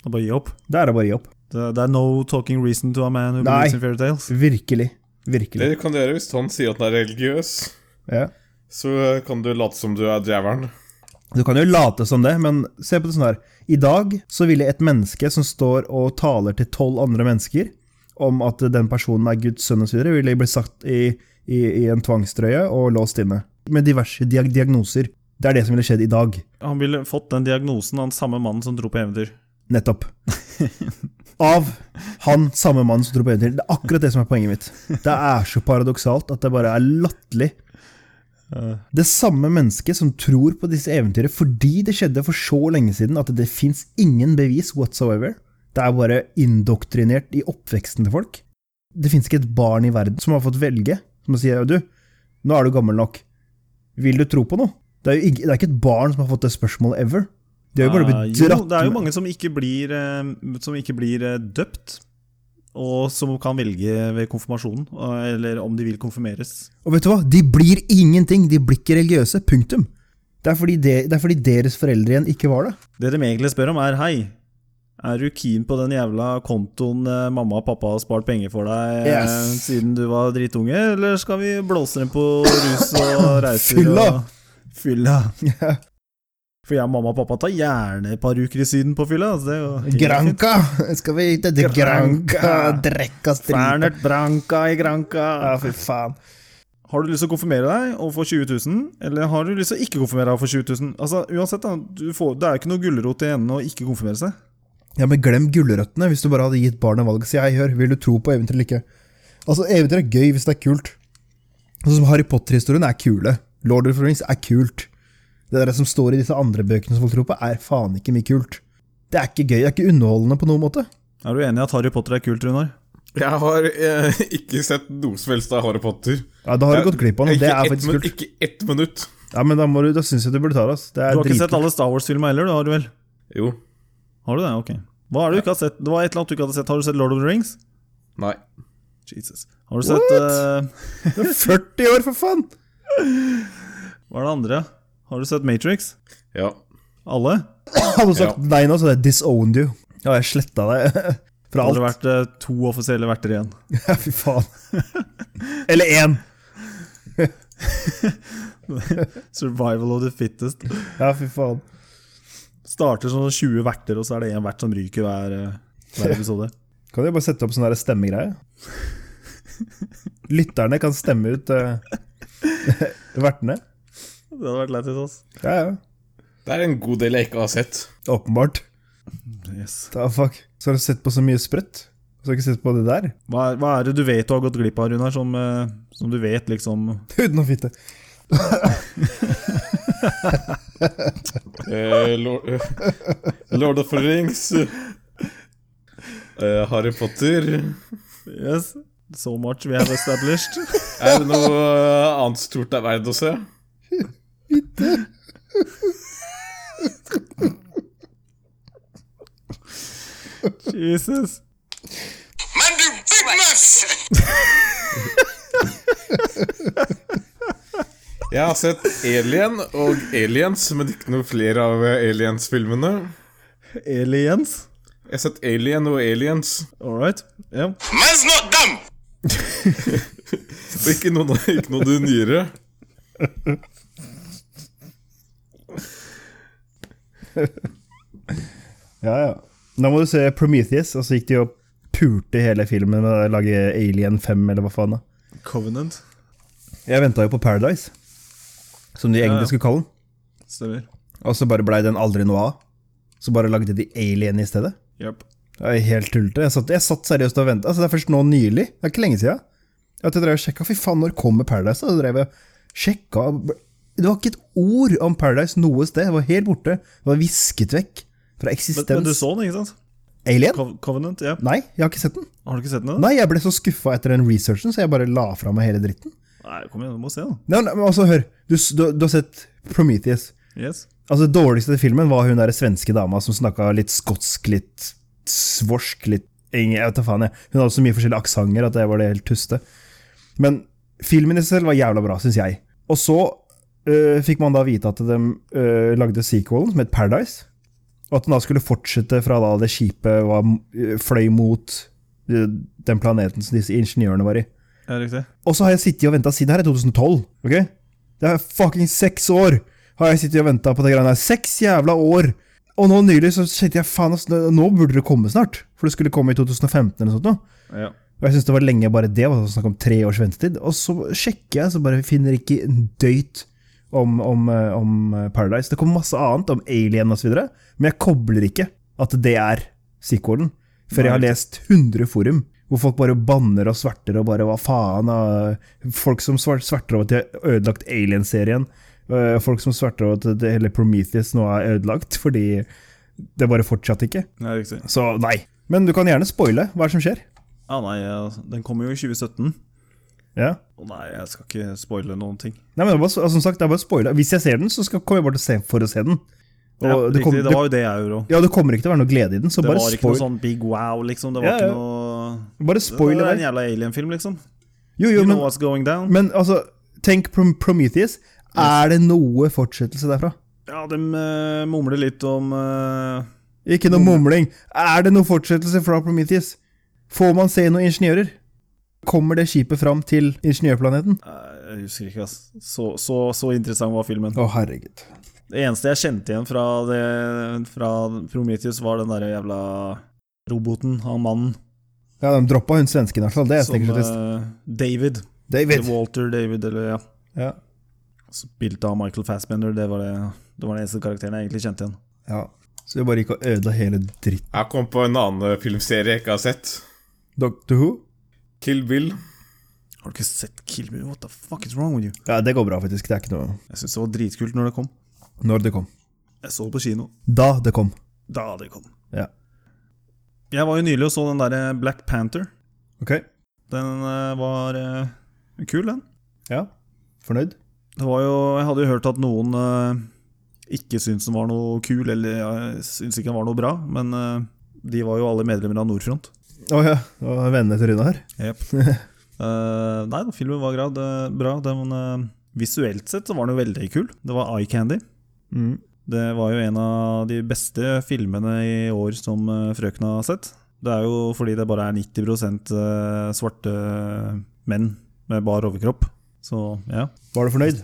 Da bare gi opp.
Da er det bare å gi opp.
Det, det er no talking reason to a man who
Nei.
believes in fairy tales.
Virkelig. Virkelig.
Det kan du gjøre hvis han sier at han er religiøs.
Ja.
Så eh, kan du late som du er djevelen.
Du kan jo late som det, men se på det sånn her. I dag så ville et menneske som står og taler til tolv andre mennesker om at den personen er Guds sønn osv., ville blitt satt i, i, i en tvangstrøye og låst inne. Med diverse diag diagnoser. Det er det som ville skjedd i dag.
Han ville fått den diagnosen av den samme mannen som tror på eventyr.
Nettopp. Av han samme mannen som tror på eventyr. Det er akkurat det som er poenget mitt. Det er så paradoksalt at det bare er latterlig. Det samme mennesket som tror på disse eventyrene fordi det skjedde for så lenge siden at det fins ingen bevis whatsoever. Det er bare indoktrinert i oppveksten til folk. Det fins ikke et barn i verden som har fått velge, som sier du, nå er du gammel nok. Vil du tro på noe? Det er jo ikke, det er ikke et barn som har fått det spørsmålet ever. De har jo bare
Eh,
blitt
jo,
dratt
det er jo
med-
mange som ikke blir, eh, som ikke blir eh, døpt, og som kan velge ved konfirmasjonen, eh, eller om de vil konfirmeres.
Og vet du hva? De blir ingenting. De blir ikke religiøse. Punktum. Det er fordi, de, det er fordi deres foreldre igjen ikke var det.
Det de egentlig spør om, er hei, er du keen på den jævla kontoen eh, mamma og pappa har spart penger for deg eh,
Yes.
siden du var dritunge, eller skal vi blåse dem på rus og reiser?
Fylla.
Og... Fylla! For jeg og mamma og pappa tar gjerne et par uker i Syden på fylla. Altså det er jo helt fint.
Granka! Skal vi til det Granka?
Granka.
Drekka strita.
Fernert Branca i Granca.
Ja, fy faen.
Har du lyst til å konfirmere deg og få 20 000, eller har du lyst til å ikke konfirmere deg og få 20 000? Altså, uansett, da, du får, det er jo ikke noe gulrot i enden å ikke konfirmere seg.
Ja, men glem gulrøttene hvis du bare hadde gitt barnet valget. Si hei, hør, vil du tro på eventyr eller ikke? Altså, eventyr er gøy hvis det er kult. Sånn som Harry Potter-historien er kule. Lord of the Rings er kult. Det der som står i disse andre bøkene som folk tror på, er faen ikke mye kult. Det er ikke gøy. Det er ikke underholdende på noen måte.
Er du enig i at Harry Potter er kult, Runar?
Jeg har eh, ikke sett noe som helst av Harry Potter.
Ja, Da har du gått glipp av noe.
Ikke
Det er
ett
faktisk
minu-
kult.
Ikke ett minutt.
Ja, men da, må du, da syns jeg du burde ta det. ass. Det er
Du har ikke sett
dritkult.
alle Star Wars-filmer heller, du har du vel?
Jo.
Har du det? Ok. Hva er det du ikke har sett? Det var et eller annet du ikke hadde sett. Har du sett Lord of the Rings?
Nei.
Jesus. Har du sett eh,
Du er 40 år, for faen!
Hva er det andre? Har du sett Matrix?
Ja.
Alle?
Hadde du sagt
Ja.
nei nå, så hadde jeg disowned you. Ja, jeg sletta deg fra
Har
alt.
det vært eh, to offisielle verter igjen?
Ja, fy faen. Eller én.
Survival of the fittest.
Ja, fy faen.
Starter sånn 20 verter, og så er det én vert som ryker hver, eh, hver episode.
Kan du bare sette opp sånn der stemmegreie? Lytterne kan stemme ut eh, vertene.
Det hadde vært lættis, ass.
Ja, ja.
Det er en god del jeg ikke har sett.
Åpenbart.
Yes.
Da, fuck. Så har du sett på så mye sprøtt. Så har du ikke sett på det der.
Hva, er- hva er det du vet du har gått glipp av, Runar, som, eh, som du vet liksom
Uten å fitte.
Eh, Lord, Lord of the Rings. Eh, Harry Potter.
Yes. So much we have established.
Er det noe eh, annet stort det er verdt å se?
Jesus.
Man, do big maths!
Jeg har sett Alien og Aliens, men ikke noe flere av eh, Aliens-filmene.
Aliens.
Jeg har sett Alien og Aliens,
All right. Ja.
Man's not dumb!
og ikke noe, ikke noe av det nyere.
Ja, ja. Da må du se Prometheus, og så gikk de og pulte hele filmen med å lage Alien 5, eller hva faen. da.
Covenant.
Jeg venta jo på Paradise, som de egentlig
ja.
skulle kalle den.
Stemmer.
Og så bare blei den aldri noe av. Så bare lagde de Alien i stedet.
Yep.
Det er helt tullete. Jeg satt, jeg satt seriøst og venta. Altså, det er først nå nylig. Det er ikke lenge siden. At jeg drev og sjekka. Fy faen, når kommer Paradise? Da Så drev jeg og sjekka. Det var ikke et ord om Paradise noe sted. Det var helt borte. Det var visket vekk fra
Men,
eksistens.
men du så den, ikke sant?
Alien?
Co- Covenant, ja.
Nei, jeg har ikke sett den.
Har du ikke sett den? da?
Nei, jeg ble så skuffa etter den researchen, så jeg bare la fra meg hele dritten.
Nei, kom igjen, du må se den.
Nei, nei, men altså, hør. Du, s- du, du har sett Prometheus.
Yes.
Altså, det dårligste i filmen var hun der svenske dama som snakka litt skotsk, litt svorsk, litt eng, jeg vet da faen. Jeg. Hun hadde så mye forskjellige aksenter at det var det helt tuste. Men filmen i seg selv var jævla bra, syns jeg. Og så øh, fikk man da vite at de øh, lagde sequelen som het Paradise. Og at den da skulle fortsette fra da det skipet var, øh, fløy mot øh, den planeten som disse ingeniørene var i.
Ja, riktig.
Og så har jeg sittet og venta siden her i 2012. ok? Det er fucking seks år har jeg sittet og venta på det greiene her. Seks jævla år! Og nå nylig så tenkte jeg faen, ass, nå nå burde det komme snart. For det skulle komme i 2015 eller sånt noe.
Ja.
Og jeg synes det var lenge bare det, var snakk om tre års ventetid. Og så sjekker jeg, så bare finner jeg ikke en døyt om, om, eh, om eh, Paradise. Det kommer masse annet om Alien osv., men jeg kobler ikke at det er sequelen. Før jeg har lest 100 forum hvor folk bare banner og sverter og bare hva faen. ah, Folk som sver- sverter over at de har ødelagt Alien-serien. eh, Folk som sverter over at det hele Prometheus nå er ødelagt fordi det bare fortsatte ikke.
Ja, riktig.
Så nei. Men du kan gjerne spoile hva er det som skjer.
Ah, nei, ja, den kommer jo i 2017.
Ja.
Å nei, jeg skal ikke spoile noen ting.
Nei, men det er bare, altså, som sagt, det er bare spoiler. Hvis jeg ser den, så skal, kommer jeg bare til å se for å se den. Og
Ja,
det,
riktig,
kommer,
det var jo det jeg gjorde òg.
ja, det kommer ikke til å være noe glede i den, så
Det
bare,
var ikke
spoil,
noe sånn big wow, liksom. Det var
Ja, ja.
ikke noe
bare spoil
Det
det
var en
der.
jævla alien-film, liksom.
Jo, jo,
You know
men,
what's going down.
men altså, tenk Prom- Prometheus. Er det noe fortsettelse derfra?
Ja, de eh, mumler litt om eh,
Ikke noe mumling. Er det noe fortsettelse fra Prometheus? Får man se noen ingeniører? Kommer det skipet fram til ingeniørplaneten? Å,
eh, Jeg husker ikke, ass. Så, så, så interessant var filmen.
herregud.
Det eneste jeg kjente igjen fra, det, fra Prometheus, var den derre jævla roboten, han mannen,
Ja, de droppa hun svensken, i hvert fall. Det er
som
sikkert trist.
eh, David.
David.
Eller Walter David, eller ja.
Ja.
Spilt av Michael Fassbender, det var, det, det var den eneste karakteren jeg egentlig kjente igjen.
ja. Så vi bare gikk og ødela hele dritten.
Jeg kom på en annen eh, filmserie jeg ikke har sett.
Doctor Who?
Kill Bill.
Har du ikke sett Kill Me? What the fuck is wrong with you?
Ja, det går bra, faktisk. Det er ikke noe
Jeg syntes det var dritkult når det kom.
Når det kom.
Jeg så det på kino
Da det kom.
da det kom.
Ja.
Jeg var jo nylig og så den derre Black Panther.
Ok.
Den eh, var eh, kul, den.
Ja. Fornøyd?
Det var jo Jeg hadde jo hørt at noen eh, ikke syntes den var noe kul, eller ja, syntes ikke den var noe bra, men eh, de var jo alle medlemmer av Nordfront.
Å ja. Det var vennene til Rune her.
Eh, nei, da, filmen var grad, eh, bra. Den, eh, visuelt sett så var den jo veldig kul. Det var eye candy.
Mm.
Det var jo en av de beste filmene i år som eh, frøkene har sett. Det er jo fordi det bare er 90 eh, svarte menn med bar overkropp. Så ja,
Var du fornøyd?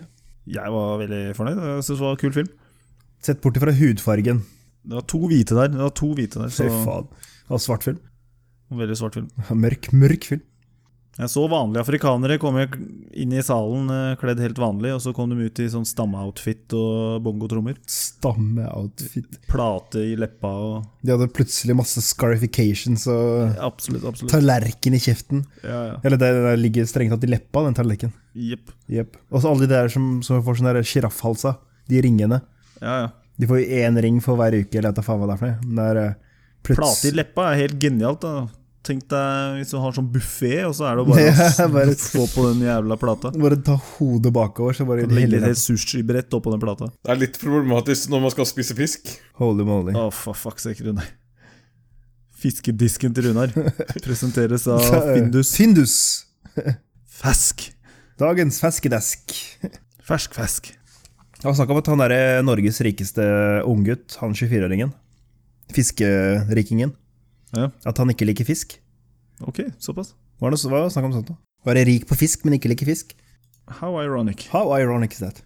jeg var veldig fornøyd. Jeg synes det var en kul film.
Sett bort ifra hudfargen.
Det var to hvite der. Det var to hvite der
Fy
så
faen. Og svart film.
Veldig svart film.
Mørk, mørk film.
Jeg så vanlige afrikanere komme inn i salen eh, kledd helt vanlig, og så kom de ut i sånn stammeoutfit og bongotrommer.
Stammeoutfit.
Plate i leppa og
De hadde plutselig masse scarifications og
Absolutt, absolutt.
tallerken i kjeften.
Ja, ja.
Eller det, det ligger strengt tatt i leppa, den tallerken.
Jepp.
Jep. Og så alle de der som, som får sånne der sjiraffhalsa. De ringene.
Ja, ja.
De får jo én ring for hver uke, eller hva faen hva det er for noe. Men det er eh, plutselig
Plate i leppa er helt genialt. da Tenk deg hvis du har sånn buffé, og så er det bare å
Ja, bare-
s- få på den jævla plata.
Bare ta hodet bakover, så bare
Legge
heller
et
den.
helt sushibrett oppå den plata.
Det er litt problematisk når man skal spise fisk.
Holy moly.
Å, for fuck sake, Runar. Fiskedisken til Runar presenteres av Findus
Findus.
Fesk.
Dagens feskedesk.
Fersk fesk.
Jeg har snakka om at han er eh, Norges rikeste unggutt, han 24-åringen. Fiskerikingen.
Ja.
At han ikke liker fisk.
Ok, såpass.
Hva er det hva er det snakk om sånt da? Være rik på fisk, men ikke like fisk?
How ironic.
How ironic is that?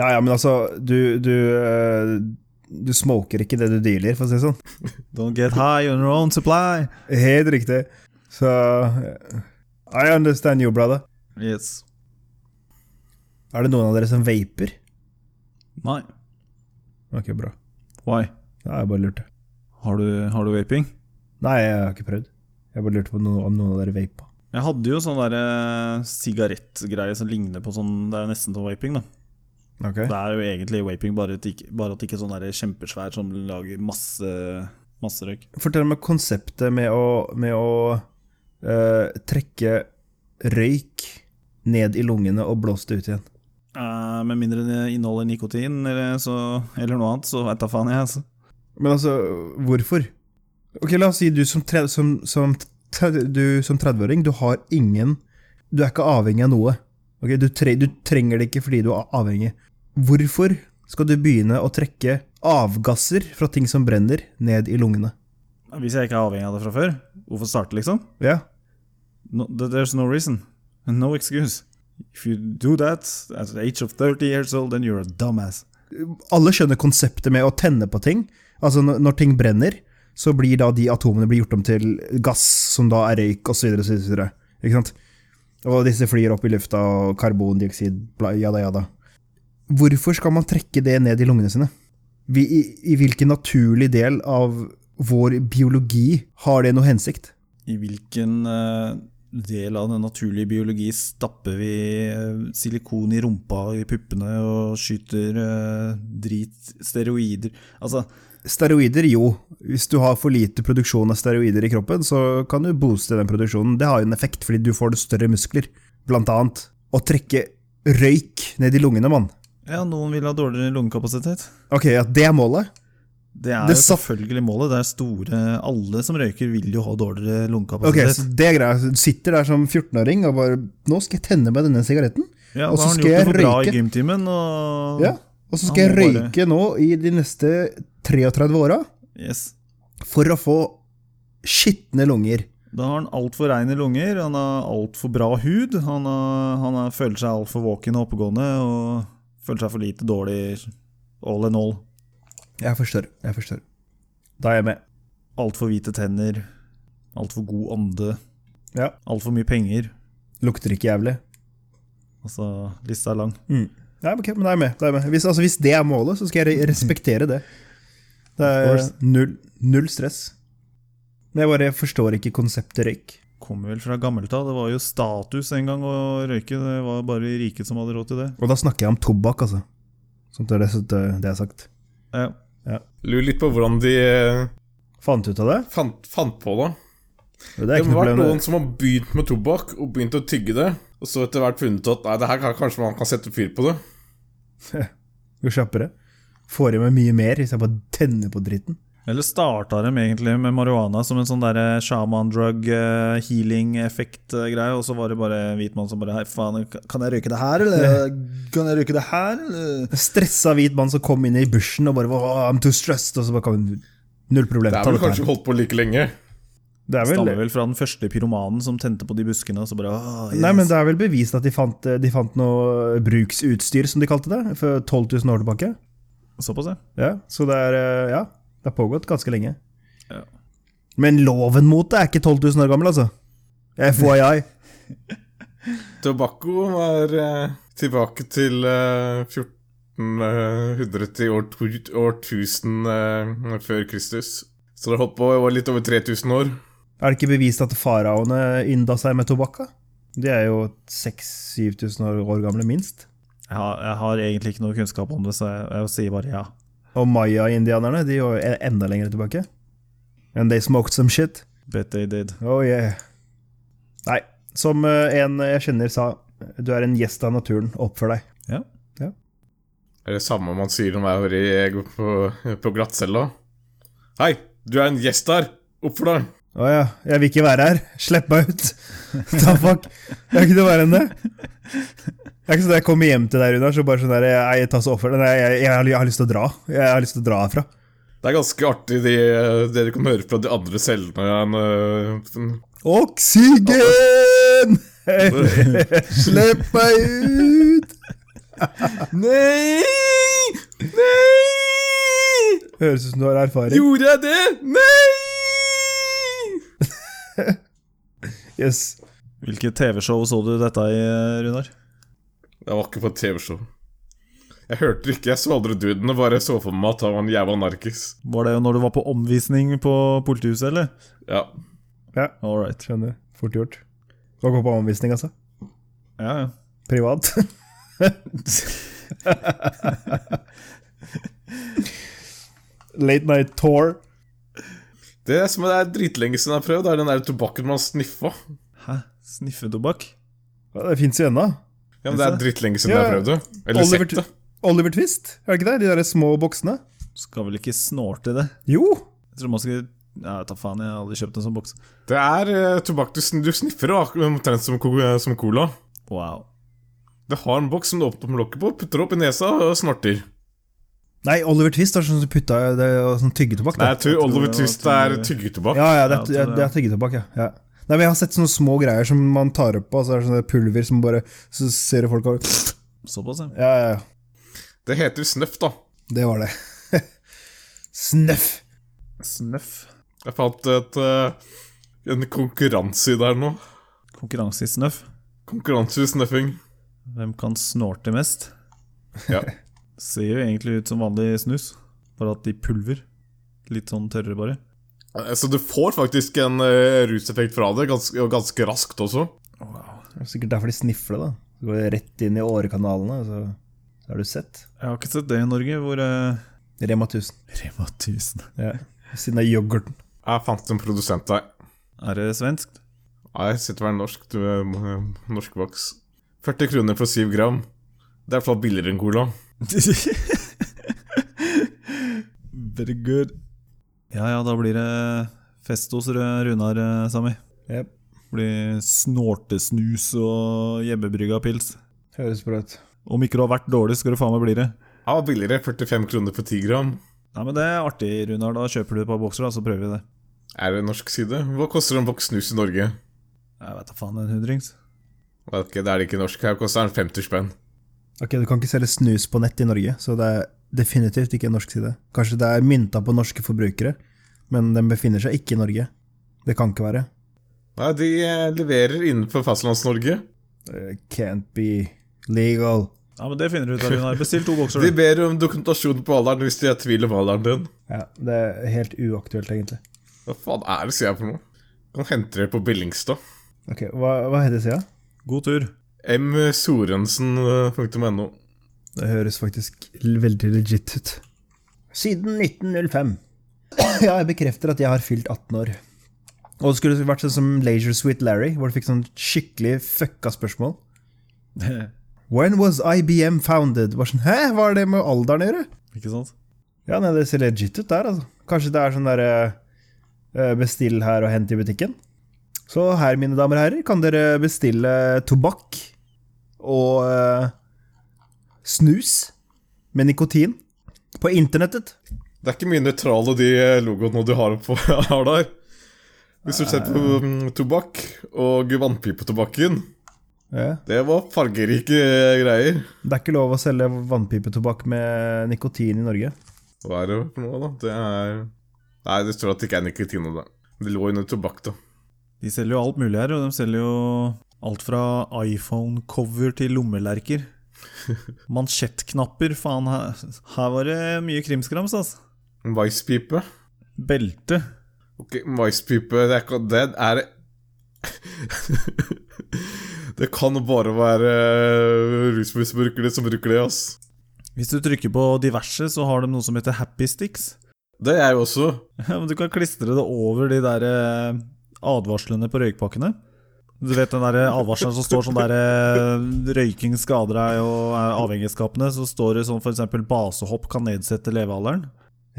Ja, ja, men altså, du, du eh, Du smoker ikke det du dealer, for å si det sånn.
Don't get high on your own supply.
Helt riktig. Så eh, I understand you, brother.
Yes.
Er det noen av dere som vaper?
Nei.
Ok, bra.
Why?
Nei, jeg bare lurte.
Har du, har du vaping?
Nei, jeg har ikke prøvd. Jeg bare lurte på noe, om noen av dere vapa.
Jeg hadde jo sånn derre sigarettgreie som ligner på sånn Det er nesten som vaping, da.
Ok.
Det er jo egentlig vaping, bare at det ikke, bare at det ikke er sånn der kjempesvær som lager masse, masse røyk.
Fortell meg konseptet med å, med å eh, trekke røyk ned i lungene og blåse det ut igjen.
Eh, med mindre det inneholder nikotin eller, så, eller noe annet, så veit da faen jeg, altså.
Men altså, hvorfor? Ok, La oss si du som, tre, som, som, tre, du som 30-åring, du har ingen Du er ikke avhengig av noe. Ok, du, tre, du trenger det ikke fordi du er avhengig. Hvorfor skal du begynne å trekke avgasser fra ting som brenner, ned i lungene?
Hvis jeg ikke er avhengig av det fra før, hvorfor starte, liksom?
Ja,
No, th- there's no reason. No excuse. If you do that at the age of 30 years old, then you're a dumbass.
alle skjønner konseptet med å tenne på ting. Altså når, når ting brenner, så blir da de atomene blir gjort om til gass, som da er røyk, osv. Ikke sant? Og disse flyr opp i lufta, og karbondioksid, bla, jada, jada. Hvorfor skal man trekke det ned i lungene sine? Vi, i, I hvilken naturlig del av vår biologi har det noe hensikt?
I hvilken eh, del av den naturlige biologi stapper vi eh, silikon i rumpa og i puppene og skyter eh, drit, steroider Altså,
Steroider, jo. Hvis du har for lite produksjon av steroider i kroppen, så kan du booste den produksjonen. Det har jo en effekt, fordi du får det større muskler. Blant annet å trekke røyk ned i lungene, mann.
ja, noen vil ha dårligere lungekapasitet.
Ok, ja, det er målet.
Det er
Det
jo
sa-
selvfølgelig målet. Det er store Alle som røyker, vil jo ha dårligere
Ok,
lungekapasitet.
så det er greia. Så Du sitter der som 14-åring og bare Nå skal jeg tenne meg denne sigaretten.
ja, da
og så
har han
skal
gjort det
jeg
for bra i
røyke.
gymtimen, og
Ja. Og så skal
Ja,
jeg
må bare-
røyke nå i de neste 33 åra
yes.
for å få skitne lunger.
Da har han altfor reine lunger, han har altfor bra hud, han, har, han har, føler seg altfor våken og oppegående, og føler seg for lite dårlig all in all.
Jeg forstår. Jeg forstår. Da er jeg med.
Altfor hvite tenner, altfor god ånde,
Ja.
altfor mye penger.
Lukter ikke jævlig.
Altså, lista er lang.
Nei, ok, men da er jeg med. Da er jeg med. Hvis, altså, hvis det er målet, så skal jeg re- respektere det.
Of
Det er
course.
null, null stress. Men jeg bare forstår ikke konseptet røyk.
Kommer vel fra gammelt av, det var jo status en gang å røyke, det var bare rike som hadde råd til det.
Og da snakker jeg om tobakk, altså. Sånn at det, er så det, det er sagt.
Ja.
Lurer litt på hvordan de eh,
Fant du ut av det?
fant, fant på det.
Det
Det
er ikke
må
noe
vært
problem.
noen som har begynt med tobakk og begynt å tygge det, og så etter hvert funnet at nei, det her kan, kanskje man kan sette fyr på det.
Jo kjappere. Får i meg mye mer hvis jeg bare tenner på dritten.
Eller starta de egentlig med marihuana som en sånn der shaman drug eh, healing effekt-greie, og så var det bare en hvit mann som bare Hei, faen, kan jeg røyke det her, eller? Kan jeg røyke det her, eller?
Stressa hvit mann som kom inn i bushen og bare oh, I'm too stressed, og så bare kom Null problem.
Det er
ta
vel
dette her.
kanskje holdt på like lenge.
det er vel
Stammer vel fra den første pyromanen som tente på de buskene, og så bare «Ah, yes.
Nei, men Det er vel bevist at de fant, eh, de fant noe bruksutstyr, som de kalte det, for 12 000 år tilbake.
Såpass, ja.
Ja, Så det er eh, Ja, det har pågått ganske lenge.
Ja.
Men loven mot det er ikke 12 000 år gammel, altså. FYI.
Tobakko er eh, tilbake til eh, 1400 til år, to- år 1000 eh, før Kristus. Så det har holdt på i litt over 3000 år.
Er det ikke bevist at faraoene innda seg med tobakk? da? De er jo 6000-7000 år, år gamle, minst.
Jeg har, jeg har egentlig ikke noe kunnskap om det, så jeg, jeg sier bare ja.
Og maya-indianerne de var jo enda lenger tilbake. And they smoked some shit.
Bet they did.
Oh yeah. Nei, som eh, en jeg kjenner sa, du er en gjest av naturen, oppfør deg.
Ja.
Det er det samme man sier når man er i- på, på glattcella. Hei, du er en gjest her! Opp for deg!
Å ja, jeg vil ikke være her. Slipp meg ut. Da fuck. Jeg er ikke noe verre enn det. Det er ikke sånn at jeg kommer hjem til deg, Runar, så bare sånn der Jeg, jeg tar så oppfør deg. Nei, jeg, jeg, har- jeg har lyst til å dra. Jeg har lyst til å dra herfra.
Det er ganske artig de, det du kan høre fra de andre cellene. enn, øh,
Oksygen! Slipp meg ut! Nei! Nei! Høres ut som du har erfaring.
Gjorde jeg det? Nei!
Yes.
Hvilke TV-show så du dette i, eh, Runar?
Jeg var ikke på et TV-show. Jeg hørte det ikke, jeg så aldri duden og bare så for meg at han var en jævla narkis.
Var det jo når du var på omvisning på politihuset, eller?
Ja.
Ja,
All right.
skjønner. Fort gjort. Skal gå på omvisning, altså.
Ja, ja.
Privat. Late night tour.
Det som det er dritlenge siden jeg har prøvd, er den der tobakken man sniffa.
Hæ? Sniffetobakk?
Ja, Det fins jo ennå.
Ja, men Det er dritlenge siden
Ja,
jeg har prøvd det. Eller
Oliver
sett det.
Oliver Twist, er det ikke det? De der små boksene?
Skal vel ikke snorte det?
Jo!
Jeg tror man skal Ja, ta faen, jeg har aldri kjøpt en sånn boks.
Det er eh, tobakk du, sn du sniffer, og ak- omtrent som, ko- eh, som cola.
Wow.
Det har en boks som du åpner med lokket på, putter opp i nesa og snorter.
Nei, Oliver Twist var sånn som putta det var sånn tyggetobakk.
Nei,
da.
jeg tror Oliver
det var
Twist
til-
er tyggetobakk.
Ja, ja, det
Ja,
er, det er tyggetobakk, ja. ja. Nei, men Jeg har sett sånne små greier som man tar opp på. Altså, det er sånne pulver som bare Så ser du folk og
Såpass, ja.
Ja, ja, ja.
Det heter snøff, da.
Det var det. Snøff.
Snøff.
Jeg fant et, eh, en konkurranse i der nå.
Konkurranse i snøff.
Konkurranse i snøffing.
Hvem kan snorte mest?
Ja.
Ser jo egentlig ut som vanlig snus, bare at i pulver. Litt sånn tørrere, bare.
Eh, Så du får faktisk en eh, ruseffekt fra det, ganske, og ganske raskt også.
Det er sikkert derfor de snifler, da. Så går det rett inn i årekanalene, så, så er du sett.
Jeg har ikke sett det i Norge, hvor eh,
Rema 1000.
Rema 1000
Ja. Ved siden av yoghurten.
Jeg fant en produsent der.
Er det svenskt?
Nei, jeg sitter vel norsk, du er eh, norsk voks. 40 kroner for 7 gram. Det er i hvert fall billigere enn cola.
Very good. Ja ja, da blir det fest hos Rø- Runar, eh, Sami.
Ja.
Blir snortesnus og hjemmebrygga pils.
Høres bra ut.
Om ikke du har vært dårlig, skal du faen meg bli det.
Ja, billigere. 45 kroner for 10 gram.
Nei, men Det er artig, Runar. Da kjøper du et par bokser, da, så prøver vi det.
Er det norsk side? Hva koster en boks snus i Norge?
Jeg vet da faen, en hundrings.
Ok, det er det ikke norsk. Her koster den 50 spenn.
Ok, Du kan ikke selge snus på nett i Norge, så det er definitivt ikke en norsk side. Kanskje det er mynta på norske forbrukere, men den befinner seg ikke i Norge. Det kan ikke være.
Nei, de eh, leverer innenfor fastlands-Norge.
Eh, Can't be legal.
Ja, men Det finner du ut av, Runar. Bestill to bokser.
De
du.
ber om dokumentasjon på alderen hvis de er i tvil om alderen din.
Ja, Det er helt uaktuelt, egentlig.
Hva faen er det, sier jeg for noe? Kan hente det på Billingstad.
Ok, Hva, hva heter sida?
God tur.
eh, msorensen.no.
Det høres faktisk l- veldig legit ut. Siden 1905. ja, jeg bekrefter at jeg har fylt 18 år. Og det skulle vært sånn som Leisure Suite Larry, hvor du fikk sånn skikkelig fucka spørsmål. When was IBM founded? Var sånn, Hæ, hva har det med alderen å gjøre?
ikke sant?
Ja, nei, det ser legit ut der, altså. Kanskje det er sånn derre eh, Bestill her og hent i butikken. Så her, mine damer og herrer, kan dere bestille tobakk og eh, snus med nikotin på internettet.
Det er ikke mye nøytrale de eh, logoene du har, på, har der. Hvis du ser på mm, tobakk og vannpipetobakken
Ja.
Det var fargerike eh, greier.
Det er ikke lov å selge vannpipetobakk med nikotin i Norge.
Hva er det for noe, da? Det er Nei, det står at det ikke er nikotin i det. Det lå under tobakk, da.
De selger jo alt mulig her, og de selger jo alt fra iPhone-cover til lommelerker. Mansjettknapper, faen. Her, her var det mye krimskrams, altså.
Vaispipe.
Belte.
Ok, maispipe Det er ikke Det er Det kan bare være rusmisbrukere som bruker det, ass.
Hvis du trykker på diverse, så har de noe som heter Happy Sticks.
Det er jeg også.
Ja, men Du kan klistre det over de der eh, advarslene på røykpakkene. Du vet den der advarselen som står sånn der eh, 'røyking skader deg og er avhengighetsskapende', så står det sånn f.eks. 'basehopp kan nedsette levealderen'.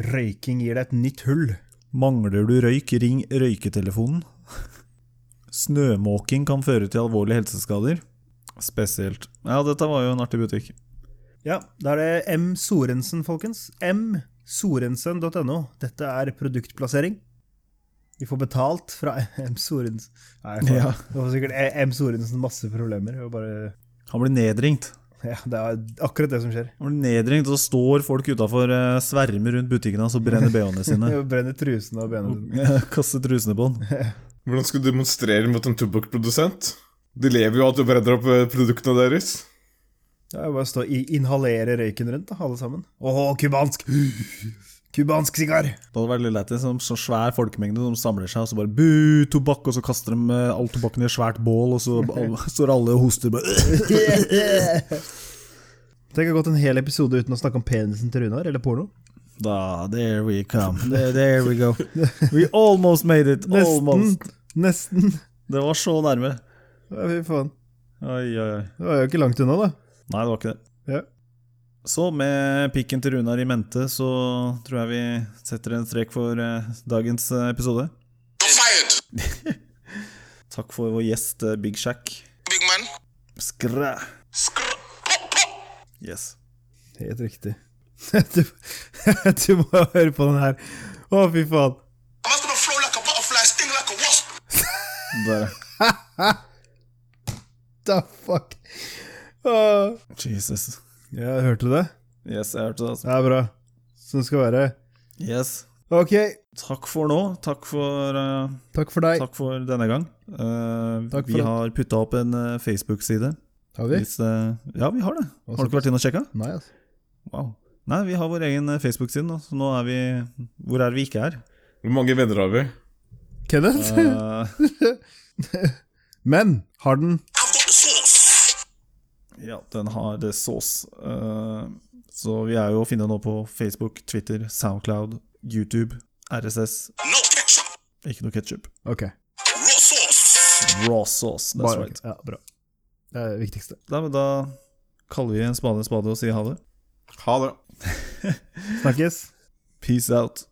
Røyking gir deg et nytt hull.
Mangler du røyk, ring røyketelefonen. Snømåking kan føre til alvorlige helseskader. Spesielt. Ja, dette var jo en artig butikk.
Ja, da er det M. Sorensen, folkens. msorensen.no. Dette er produktplassering. Vi får betalt fra M. Sorensen. Nei, jeg får- E-
Ja.
det var sikkert M. Sorensen masse problemer. Det var bare
Han blir nedringt.
Ja, det er akkurat det som skjer.
Når du er nedringt, så står folk utafor svermer rundt butikken hans og brenner BH-ene sine.
Jeg brenner trusene og bena dine.
Kaster trusene på han.
Hvordan skal du demonstrere mot en tobakksprodusent? De lever jo av at du brenner opp eh, produktene deres.
Ja, jeg bare står og inhalerer røyken rundt, da, alle sammen. Åh, kubansk! Kubansk sigar!
Det hadde vært litt leit hvis det er en sånn svær folkemengde som samler seg og så bare bu, tobakk, og så kaster de eh, all tobakken i et svært bål, og så alle, står alle og hoster bare
Tenk å ha gått en hel episode uten å snakke om penisen til Runar, eller porno.
Da, there we come. There, Eh, there we go. We almost made it. Almost.
Nesten.
Det var så nærme.
Ja, fy faen.
Oi, oi, oi.
Det var jo ikke langt unna, da.
Nei, det var ikke det.
Ja.
Så med pikken til Runar i mente, så tror jeg vi setter en strek for eh, dagens eh, episode.
You're fired,
Takk for vår gjest eh, Big Shack.
big man.
Skræ.
Skr- pop, pop.
Yes.
Helt riktig. Du, du må høre på den her. Å, fy faen.
I must have a flow like a butterfly, sting like a wasp.
Der.
The fuck. Åh.
Jesus.
Ja, hørte du det?
Yes, jeg hørte det. altså.
Det er bra. Sånn skal det være.
Yes.
Ok,
Takk for nå. Takk for, eh,
takk for deg.
takk for denne gang. Eh,
Takk for
vi
at-
har putta opp en eh, Facebook-side.
Har vi?
Hvis, eh, ja, vi har det. Har du ikke vært inne og sjekka?
Nei, altså.
Wow. Nei, vi har vår egen eh, Facebook-side nå, så nå er vi Hvor er vi ikke er?
Hvor mange venner har vi?
Kenneth?
Eh,
Men har den
I've got the sauce.
Ja, den har det sås. Eh, så vi er jo å finne nå på Facebook, Twitter, Soundcloud, YouTube, RSS.
No ketchup.
Ikke noe ketsjup.
Ok.
Raw sauce.
Raw sauce, that's
Bare,
right.
Ja, bra. Det er det viktigste.
Nei, men da kaller vi en spade en spade og sier ha det.
Ha det.
Snakkes.
Peace out.